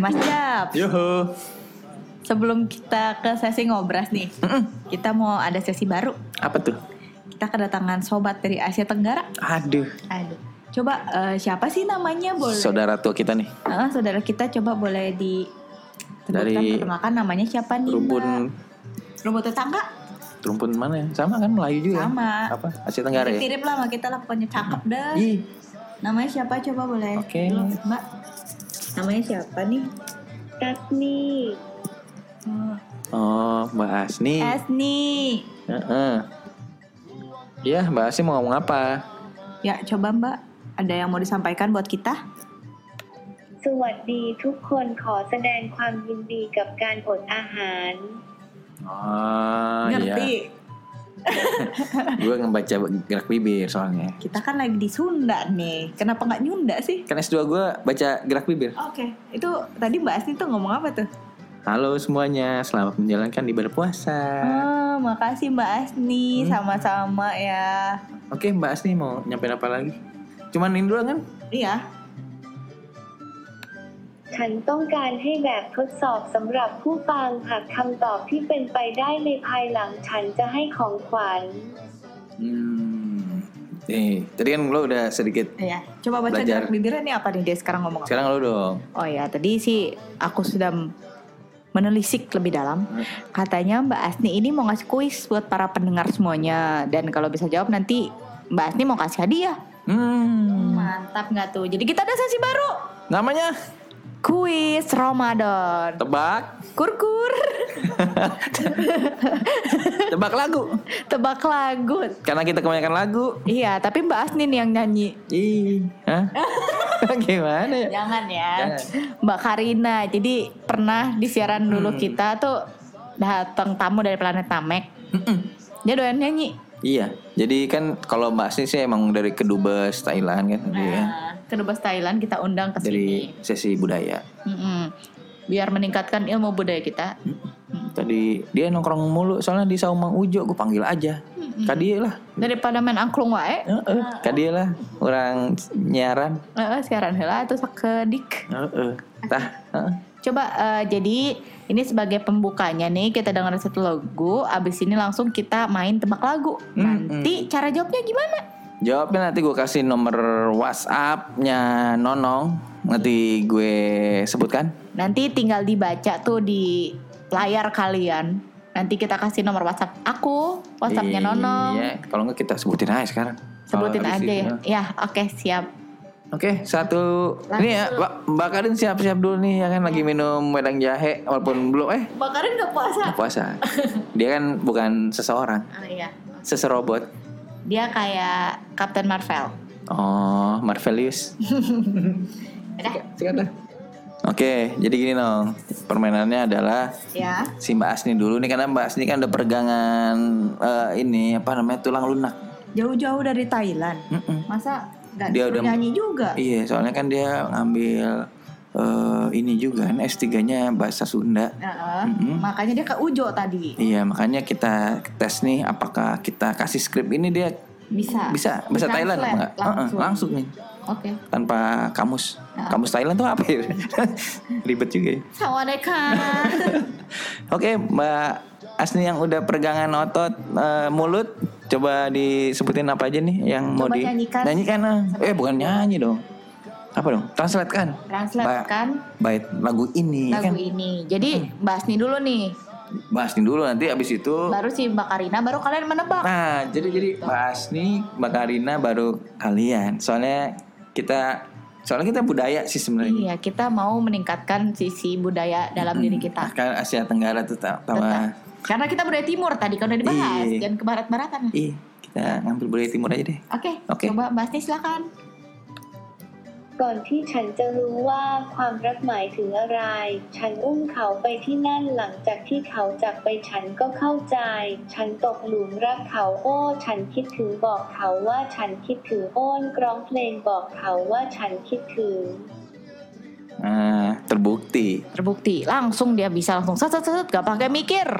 Mas Jab. Yoho. Sebelum kita ke sesi ngobras nih, kita mau ada sesi baru. Apa tuh? Kita kedatangan sobat dari Asia Tenggara. Aduh. Aduh. Coba eh, siapa sih namanya boleh? Saudara tua kita nih. Ah, saudara kita coba boleh di Dari- dari makan namanya siapa nih? Mbak? Rumpun rumput tetangga rumpun mana ya? Sama kan Melayu juga. sama. Apa? Asia Tenggara ya? Mirip lah sama kita lah pokoknya cakep dah. Ih, Namanya siapa coba boleh? Oke. Lo, Mbak. Namanya siapa nih? Katni, Oh, Mbak Asni. Asni. Heeh. Ya, Mbak Asni mau ngomong apa? Ya coba Mbak. Ada yang mau disampaikan buat kita? สวัสดีทุกคนขอแสดงความยินดีกับการอดอาหาร Oh, Ah, iya. Ngerti. Gue ngebaca gerak bibir soalnya. Kita kan lagi di Sunda nih. Kenapa nggak nyunda sih? Kan S2 gue baca gerak bibir. Oke, itu tadi Mbak Asni tuh ngomong apa tuh? Halo semuanya, selamat menjalankan ibadah puasa. Oh, makasih Mbak Asni, Eh. Hmm. sama-sama ya. Oke Mbak Asni mau nyampein apa lagi? Cuman ini doang kan? Iya, ฉันต้องการให้แบบทดสอบสำหรับผู้ฟังหากคำตอบที่เป็นไปได้ในภายหลังฉันจะให้ของขวัญ Hmm. Nih, tadi kan lo udah sedikit. iya. Coba baca Belajar. jarak bibirnya nih apa nih dia sekarang ngomong apa? Sekarang lo dong. Oh ya, tadi sih aku sudah menelisik lebih dalam. Katanya Mbak Asni ini mau ngasih kuis buat para pendengar semuanya dan kalau bisa jawab nanti Mbak Asni mau kasih hadiah. Hmm. Mantap nggak tuh? Jadi kita ada sesi baru. Namanya Kuis Ramadan. *laughs* tebak, Kurkur. tebak lagu. Tebak lagu. Karena kita kebanyakan lagu. Iya, tapi Mbak Asni nih yang nyanyi. Ih, hah? Gimana ya? Jangan ya. Jangan. Hmm. Mbak Karina. Jadi pernah di siaran dulu kita tuh datang tamu dari planet Namek. Dia doyan nyanyi. Iya, jadi kan kalau Mbak Asni sih emang dari kedubes Thailand kan, dia kan? Nah, kedubes Thailand kita undang ke dari sini. sesi budaya. Mm-mm. Biar meningkatkan ilmu budaya kita. Tadi dia nongkrong mulu, soalnya di Saumang Ujo, gue panggil aja. Kadie lah, Daripada main angklung wae, Heeh. Kadie lah, orang nyaran. eh, siaran heula terus ke dik. Heeh. Tah, heeh. Coba eh, jadi ini sebagai pembukanya nih kita dengerin satu lagu, abis ini langsung kita main tebak lagu. Mm-mm. Nanti cara jawabnya gimana? Jawabnya nanti gue kasih nomor WhatsApp-nya Nonong. Nanti gue sebutkan. Nanti tinggal dibaca tuh di layar kalian. Nanti kita kasih nomor WhatsApp aku, WhatsAppnya Nonong. Iya, kalau nggak kita sebutin aja sekarang. Sebutin Kalau habis aja itu, ya. heeh. Ya, oke siap. Oke, satu. Langsung. Ini ya, Mbak, Mbak Karin siap-siap dulu nih ya kan lagi minum wedang jahe walaupun belum eh Bakarin gak puasa. nggak puasa. Dia kan bukan seseorang, Oh iya. seserobot. Dia kayak Captain Marvel. Oh, Marvelius. Udah. Sikat dah. Oke, jadi gini Nong. Permainannya adalah Iya. Ya. si Mbak Asni dulu nih karena Mbak Asni kan udah pergangan eh, ini apa namanya tulang lunak. Jauh-jauh dari Thailand. Mm-mm. Masa nggak Dia disuruh udah- nyanyi juga? Iya, soalnya kan dia ngambil eh, ini juga kan S3-nya bahasa Sunda. Heeh. Mm-mm. Makanya dia ke Ujo tadi. Iya, makanya kita tes nih apakah kita kasih skrip ini dia Bisa. bisa bahasa Bisa Thailand apa langsung. Nah. enggak? Langsung. langsung nih Oke. tanpa kamus. Kamus Thailand tuh apa ya? *laughs* Ribet juga ya. Sawadeka. *laughs* Oke, Mbak Asni yang udah peregangan otot eh, mulut coba disebutin apa aja nih yang mau Coba di nyanyikan. Nyanyikan, ah. Eh, bukan nyanyi dong. Apa dong? Translate kan? Translate Ba- kan Baik, lagu ini ya kan. lagu ini. Jadi Mm-hmm. bahas nih dulu nih. Mbak Asni dulu nanti abis itu Baru si Mbak Karina baru kalian menebak. Nah, jadi jadi Mbak Asni, Mbak Karina baru kalian. Soalnya kita soalnya kita budaya sih sebenarnya. Iya, kita mau meningkatkan sisi budaya dalam diri kita. Kan Asia Tenggara tuh ta- tawa. Tetap. Karena kita budaya timur tadi kan udah dibahas, Iya. jangan ke barat-baratan. Oke, Ih, kita ngambil budaya timur aja deh. Oke. coba Mbak Asni silakan. ก่อนที่ฉันจะรู้ว่าความรักหมายถึงอะไร ฉันอุ้มเขาไปที่นั่นหลังจากที่เขาจากไปฉันก็เข้าใจ ฉันตกหลุมรักเขาโอ้ ฉันคิดถึงบอกเขาว่าฉันคิดถึงโอ้นกร้องเพลงบอกเขาว่าฉันคิดถึง Nah, terbukti Terbukti langsung dia bisa langsung set set set gak pakai mikir.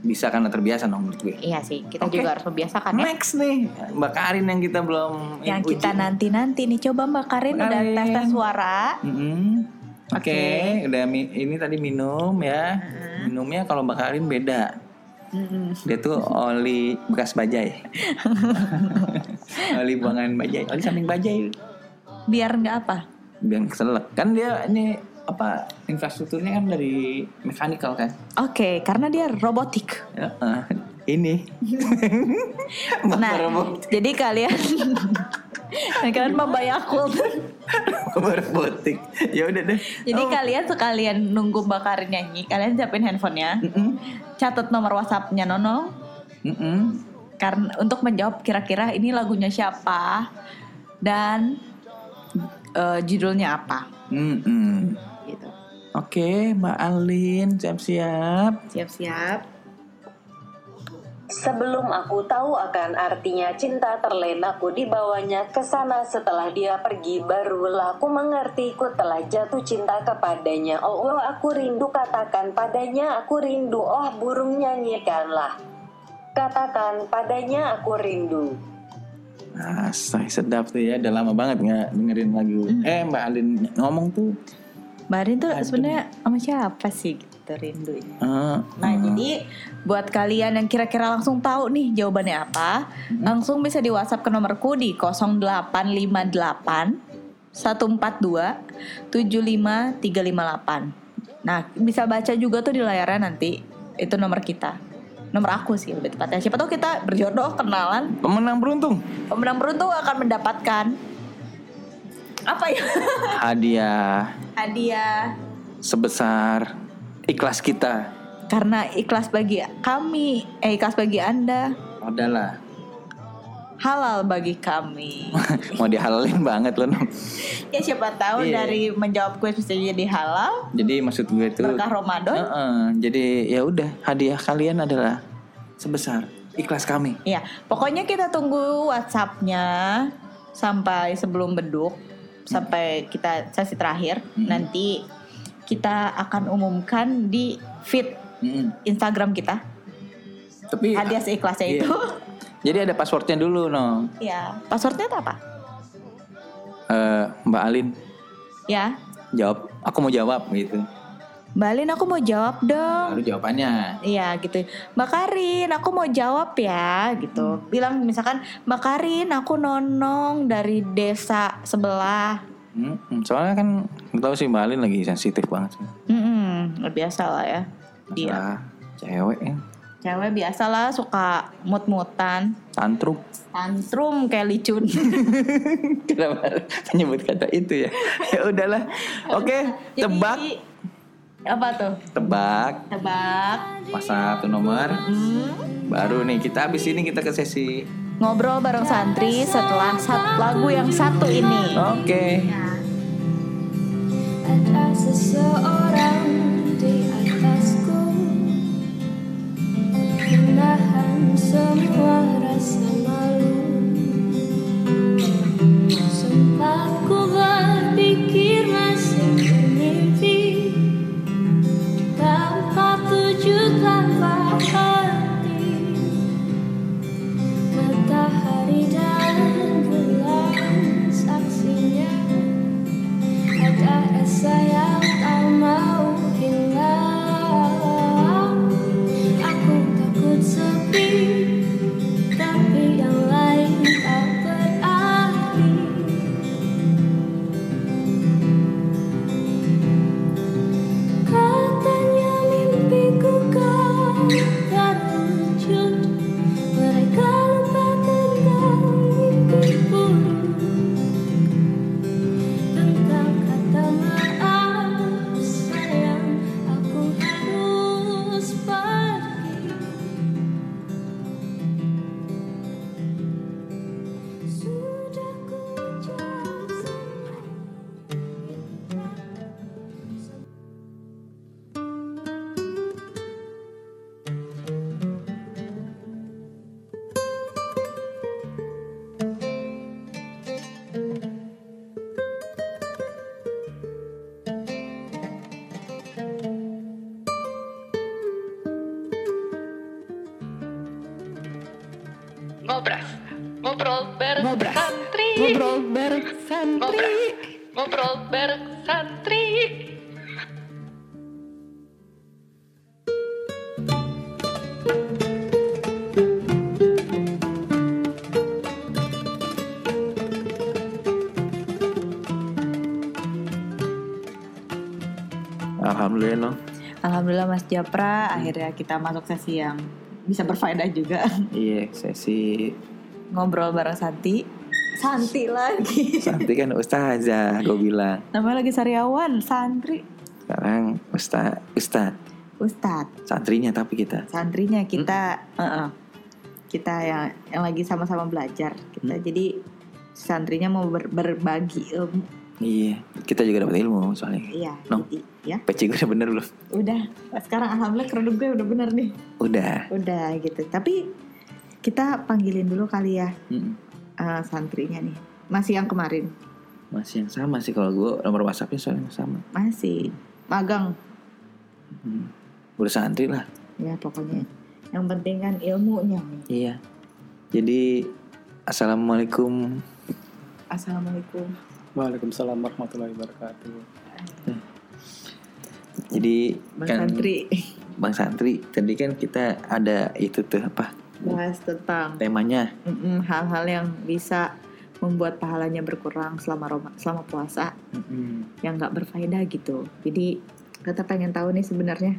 bisa karena terbiasa dong menurut gue. Iya sih, kita Oke. juga harus membiasakan ya. Next nih, Mbak Karin yang kita belum eh, Yang uji. kita nanti-nanti nih coba Mbak Karin Mbak udah Karin. tes tes suara. Mm-mm. Mm-hmm. Oke, udah mi- ini tadi minum ya. Mm-hmm. Minumnya kalau Mbak Karin beda. Dia tuh oli bekas *laughs* bajai. oli buangan bajai, oli samping bajai. Biar nggak apa? Biar keselak. Kan dia ini apa infrastrukturnya kan dari mechanical kan. Oke, karena dia robotik. Heeh. ini. Motor *laughs* Nah, robot- jadi kalian *laughs* Nah, kalian membayar robotik. Ya udah deh. Jadi kalian sekalian nunggu Mbak Karin nyanyi, kalian siapin handphonenya, Mm-mm. catat nomor WhatsAppnya Nono, Mm-mm. karena untuk menjawab kira-kira ini lagunya siapa dan eh, judulnya apa. Mm-mm. Gitu. Oke, Mbak Alin siap-siap. Siap-siap. Sebelum aku tahu akan artinya cinta terlena aku dibawanya ke sana setelah dia pergi barulah aku mengerti ku telah jatuh cinta kepadanya oh, oh, aku rindu katakan padanya aku rindu oh burung nyanyikanlah Katakan padanya aku rindu. Asai sedap tuh ya, udah lama banget nggak dengerin lagu. Hmm. Eh Mbak Alin ngomong tuh. Mbak Rin tuh Aduh. sebenarnya sama siapa sih gitu rindunya? eh, Nah eh, jadi buat kalian yang kira-kira langsung tahu nih jawabannya apa Langsung bisa di whatsapp ke nomorku di 0858 142 75358 Nah bisa baca juga tuh di layarnya nanti Itu nomor kita Nomor aku sih lebih tepatnya Siapa tahu kita berjodoh kenalan pemenang beruntung Pemenang beruntung akan mendapatkan Apa ya? *laughs* hadiah Hadiah sebesar ikhlas kita Karena ikhlas bagi kami Eh ikhlas bagi anda adalah halal bagi kami. *laughs* mau dihalalin banget loh. Nom. ya siapa tahu Iya. dari menjawab kuis bisa jadi halal Jadi maksud gue tuh berkah Ramadan. Heeh, jadi ya udah hadiah kalian adalah sebesar ikhlas kami. Iya, pokoknya kita tunggu WhatsApp-nya sampai sebelum beduk sampai kita sesi terakhir. Mm-hmm. Nanti kita akan umumkan di feed Mm-mm. Instagram kita Tapi hadiah seikhlasnya Iya. itu. *laughs* jadi ada passwordnya dulu no. ya, passwordnya itu apa? Eh, Mbak Alin Ya, jawab. Aku mau jawab gitu. Mbak Lin aku mau jawab dong. Lalu jawabannya. Iya gitu Mbak Karin aku mau jawab ya gitu Bilang misalkan Mbak Karin aku nonong dari desa sebelah Mm-mm, Soalnya kan nggak tahu sih Mbak Alin lagi sensitif banget. sih. Mm-mm, biasa lah ya Dia Masalah cewek ya. Cewek biasa lah suka mut-mutan Tantrum. *laughs* Tantrum kayak licun Kenapa menyebut kata itu ya? *laughs* ya udahlah. Oke, Jadi, tebak, Apa tuh? tebak. Tebak Hmm. WhatsApp tuh nomor. Baru nih kita habis ini kita ke sesi. Ngobrol bareng santri setelah sat- lagu yang satu ini Oke. Ada seseorang di atasku Menahan semua rasa malu Sempat ku berpikir masih bermimpi Tanpa tujuan, tanpa arti Matahari dan bulan saksinya ada esa yang tak mau hilang Aku takut sepi Tapi yang lain tak berarti Katanya mimpiku kau terwujud Mereka lupa tentang mimpi buruk tentang kata maaf sayang aku harus pergi sudah ku ucap semua Ngobras. Ngobrol bareng Ngobras. santri. Ngobrol bareng santri. Ngobrol, bareng santri. Alhamdulillah. Alhamdulillah Mas Japra Akhirnya kita masuk sesi yang bisa berfaedah juga Iya, sesi Ngobrol bareng Santi Santi lagi Santi kan ustazah gue bilang. Namanya lagi sariawan, santri, Sekarang usta ustaz ustadz, santrinya tapi kita. santrinya kita, eh, eh, kita yang yang lagi sama-sama belajar. Kita jadi santrinya mau ber- berbagi ilmu. Iya, kita juga dapat ilmu soalnya. Iya, No. jadi ya. PC gue udah bener belum? Udah, sekarang alhamdulillah kerudung gue udah bener nih. Udah. Udah gitu. Tapi kita panggilin dulu kali ya Mm-mm. eh, santrinya nih. Masih yang kemarin, Masih yang sama sih kalau gue nomor WhatsAppnya soalnya sama. masih magang Udah santri lah. ya pokoknya. Yang penting kan ilmunya. Iya. Jadi assalamualaikum. Assalamualaikum. Waalaikumsalam warahmatullahi wabarakatuh. Jadi kan Bang *laughs* Santri. Bang Santri. Tadi kan kita ada itu tuh apa? Bahas tentang Temanya. mm-mm, hal-hal yang bisa membuat pahalanya berkurang selama Roma- selama puasa yang nggak berfaedah gitu. Jadi kita pengen tahu nih sebenarnya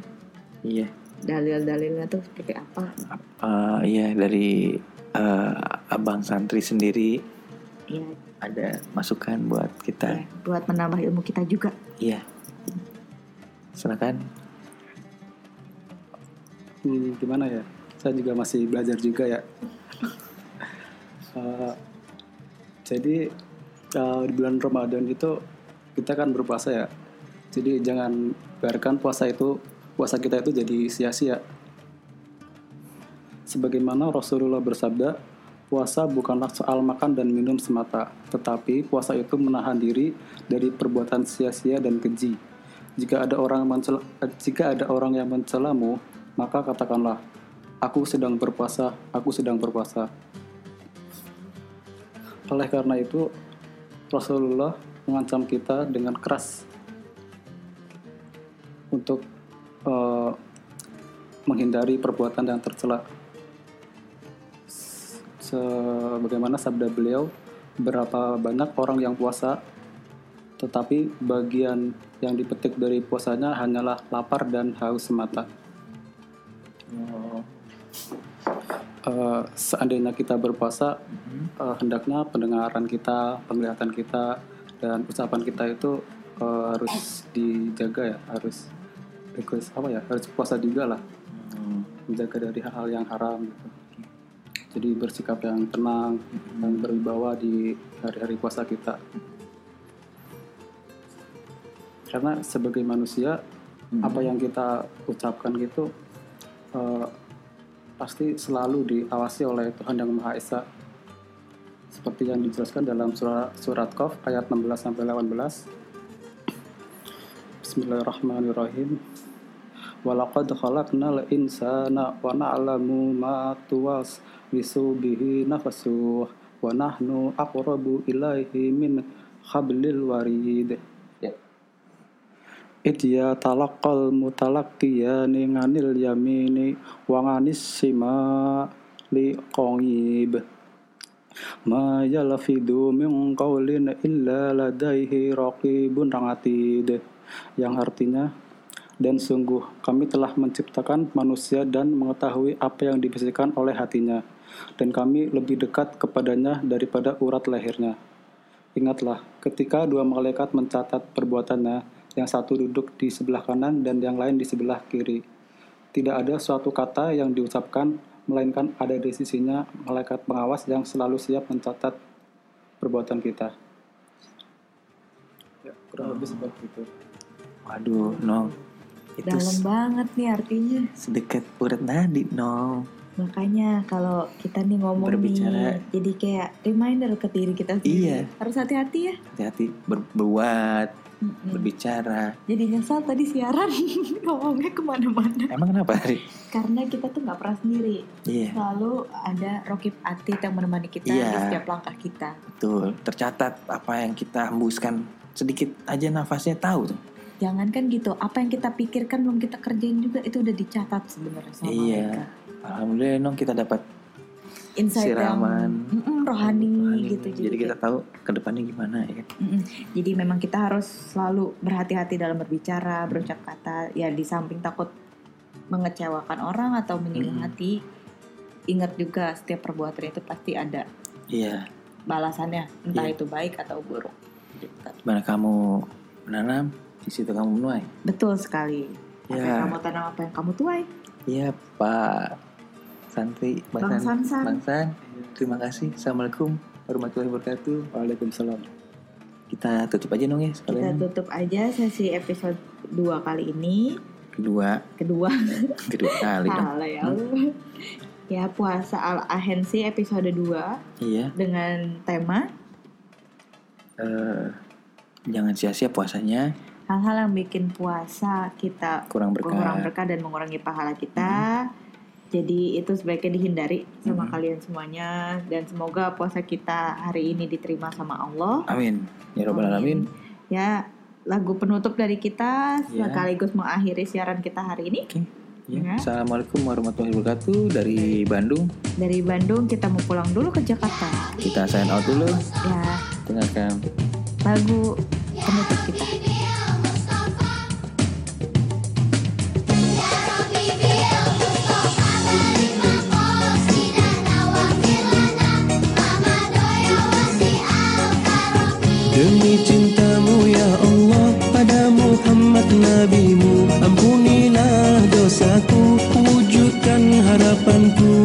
Iya. dalil-dalilnya tuh seperti apa? Eh, iya dari eh, Abang Santri sendiri Ya ada masukan buat kita. buat menambah ilmu kita juga. Iya. Silakan. Hmm, gimana ya? Saya juga masih belajar juga ya. Eh, jadi eh, di bulan Ramadan itu kita kan berpuasa ya. Jadi jangan biarkan puasa itu puasa kita itu jadi sia-sia. Sebagaimana Rasulullah bersabda, puasa bukanlah soal makan dan minum semata, tetapi puasa itu menahan diri dari perbuatan sia-sia dan keji. Jika ada orang mencela, eh, jika ada orang yang mencelamu, maka katakanlah, aku sedang berpuasa, aku sedang berpuasa. Oleh karena itu, Rasulullah mengancam kita dengan keras untuk eh, menghindari perbuatan yang tercela. S- Sebagaimana sabda beliau, berapa banyak orang yang puasa, tetapi bagian yang dipetik dari puasanya hanyalah lapar dan haus semata. Eh, seandainya kita berpuasa, eh, hendaknya pendengaran kita, penglihatan kita, dan ucapan kita itu eh, harus dijaga ya, harus request apa ya, harus puasa juga lah, menjaga dari hal-hal yang haram gitu. Jadi bersikap yang tenang dan berwibawa di hari-hari puasa kita. Karena sebagai manusia, Hmm. apa yang kita ucapkan gitu eh, pasti selalu diawasi oleh Tuhan Yang Maha Esa. Seperti yang dijelaskan dalam surat surat Qaf ayat 16 sampai 18. Bismillahirrahmanirrahim. Walaqad khalaqnal insana wa na'lamu ma tuwas bihi nafasuh wa nahnu aqrabu ilaihi min hablil warid. Idya talakal mutalakiyani nganil yamini wanganis sima li qongib ma yalfidu min qawlin illa ladaihi raqibun atid yang artinya dan sungguh kami telah menciptakan manusia dan mengetahui apa yang dibisikkan oleh hatinya dan kami lebih dekat kepadanya daripada urat lehernya Ingatlah, ketika dua malaikat mencatat perbuatannya, yang satu duduk di sebelah kanan dan yang lain di sebelah kiri. Tidak ada suatu kata yang diucapkan, melainkan ada di sisinya malaikat pengawas yang selalu siap mencatat perbuatan kita. Ya, kurang lebih seperti itu. Waduh, Nong. Itu Dalam se- banget nih artinya. sedekat urat nadi, Nong. Makanya kalau kita nih ngomong Berbicara. nih, jadi kayak reminder ke diri kita Iya. sendiri. Harus hati-hati ya. Hati-hati berbuat, Iya. Mm-mm. berbicara. Jadi nyesal tadi siaran *laughs* ngomongnya kemana-mana. Emang kenapa, Ri? Karena kita tuh nggak pernah sendiri. Iya, Selalu ada Rokib Atit yang menemani kita Iya. di setiap langkah kita. betul. Tercatat apa yang kita hembuskan. Sedikit aja nafasnya tahu tuh. Jangankan gitu, apa yang kita pikirkan belum kita kerjain juga itu udah dicatat sebenarnya sama iya. mereka. Alhamdulillah, Nong, kita dapat Insight yang Siraman. Mm-mm, rohani, Wah, gitu. ini. Jadi kita tahu ke depannya gimana ya. Mm-mm. Jadi memang kita harus selalu berhati-hati dalam berbicara, berucap kata. Ya di samping takut mengecewakan orang atau menyinggung Mm-mm. hati, ingat juga setiap perbuatan itu pasti ada Iya. balasannya, entah Iya. itu baik atau buruk. gitu. Gimana kamu menanam, di situ kamu menuai. Betul sekali. Apa Ya. yang kamu tanam, apa yang kamu tuai. Iya, Pak Santri, Bang, Bang San- Sansan. Bang San. Terima kasih. Assalamualaikum warahmatullahi wabarakatuh. Waalaikumsalam. Kita tutup aja dong ya Kita sekalian. tutup aja sesi episode 2 kali ini. Kedua, Kedua. kedua kali *laughs* dong. Salah ya. Hmm. Allah. Ya puasa al-ahensi episode 2 Iya. dengan tema eh, jangan sia-sia puasanya. hal-hal yang bikin puasa kita Kurang berkah. Hmm. kurang berkah dan mengurangi pahala kita. Jadi itu sebaiknya dihindari sama kalian semuanya dan semoga puasa kita hari ini diterima sama Allah. Amin. Ya robbal alamin. Ya, lagu penutup dari kita Ya. sekaligus mengakhiri siaran kita hari ini. Ya. Assalamualaikum warahmatullahi wabarakatuh dari Bandung. Dari Bandung kita mau pulang dulu ke Jakarta. Kita sign out dulu. Ya, Dengarkan lagu penutup kita. Demi cintamu ya Allah Pada Muhammad Nabimu Ampunilah dosaku Wujudkan harapanku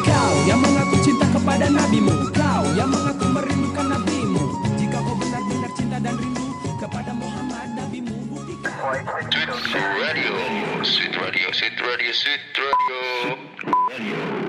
Kau yang mengaku cinta kepada nabimu Kau yang mengaku merindukan nabimu Jika kau benar-benar cinta dan rindu Kepada Muhammad nabimu Buktikan Sweet radio, sweet radio, sweet radio, sweet radio. Radio.